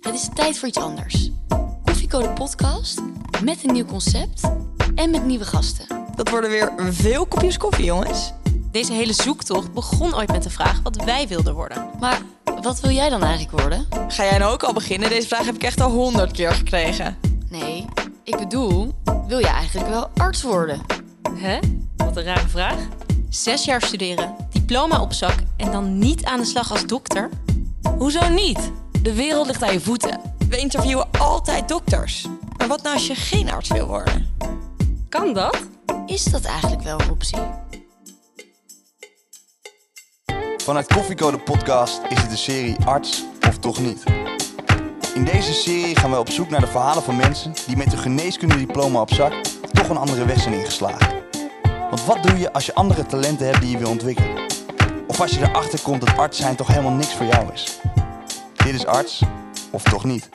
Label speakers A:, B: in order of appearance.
A: Het is tijd voor iets anders. Koffieko de podcast met een nieuw concept en met nieuwe gasten.
B: Dat worden weer veel kopjes koffie, jongens.
C: Deze hele zoektocht begon ooit met de vraag wat wij wilden worden.
A: Maar wat wil jij dan eigenlijk worden?
B: Ga jij nou ook al beginnen? Deze vraag heb ik echt al honderd keer gekregen.
A: Nee, ik bedoel, wil jij eigenlijk wel arts worden?
C: Hè? Wat een rare vraag. Zes jaar studeren, diploma op zak en dan niet aan de slag als dokter?
D: Hoezo niet? De wereld ligt aan je voeten.
B: We interviewen altijd dokters. Maar wat nou als je geen arts wil worden?
D: Kan dat?
A: Is dat eigenlijk wel een optie?
E: Vanuit Koffiecode Podcast is het de serie Arts of Toch Niet. In deze serie gaan we op zoek naar de verhalen van mensen die met hun geneeskundediploma op zak toch een andere weg zijn ingeslagen. Want wat doe je als je andere talenten hebt die je wil ontwikkelen? Of als je erachter komt dat arts zijn toch helemaal niks voor jou is? Dit is Arts of Toch Niet.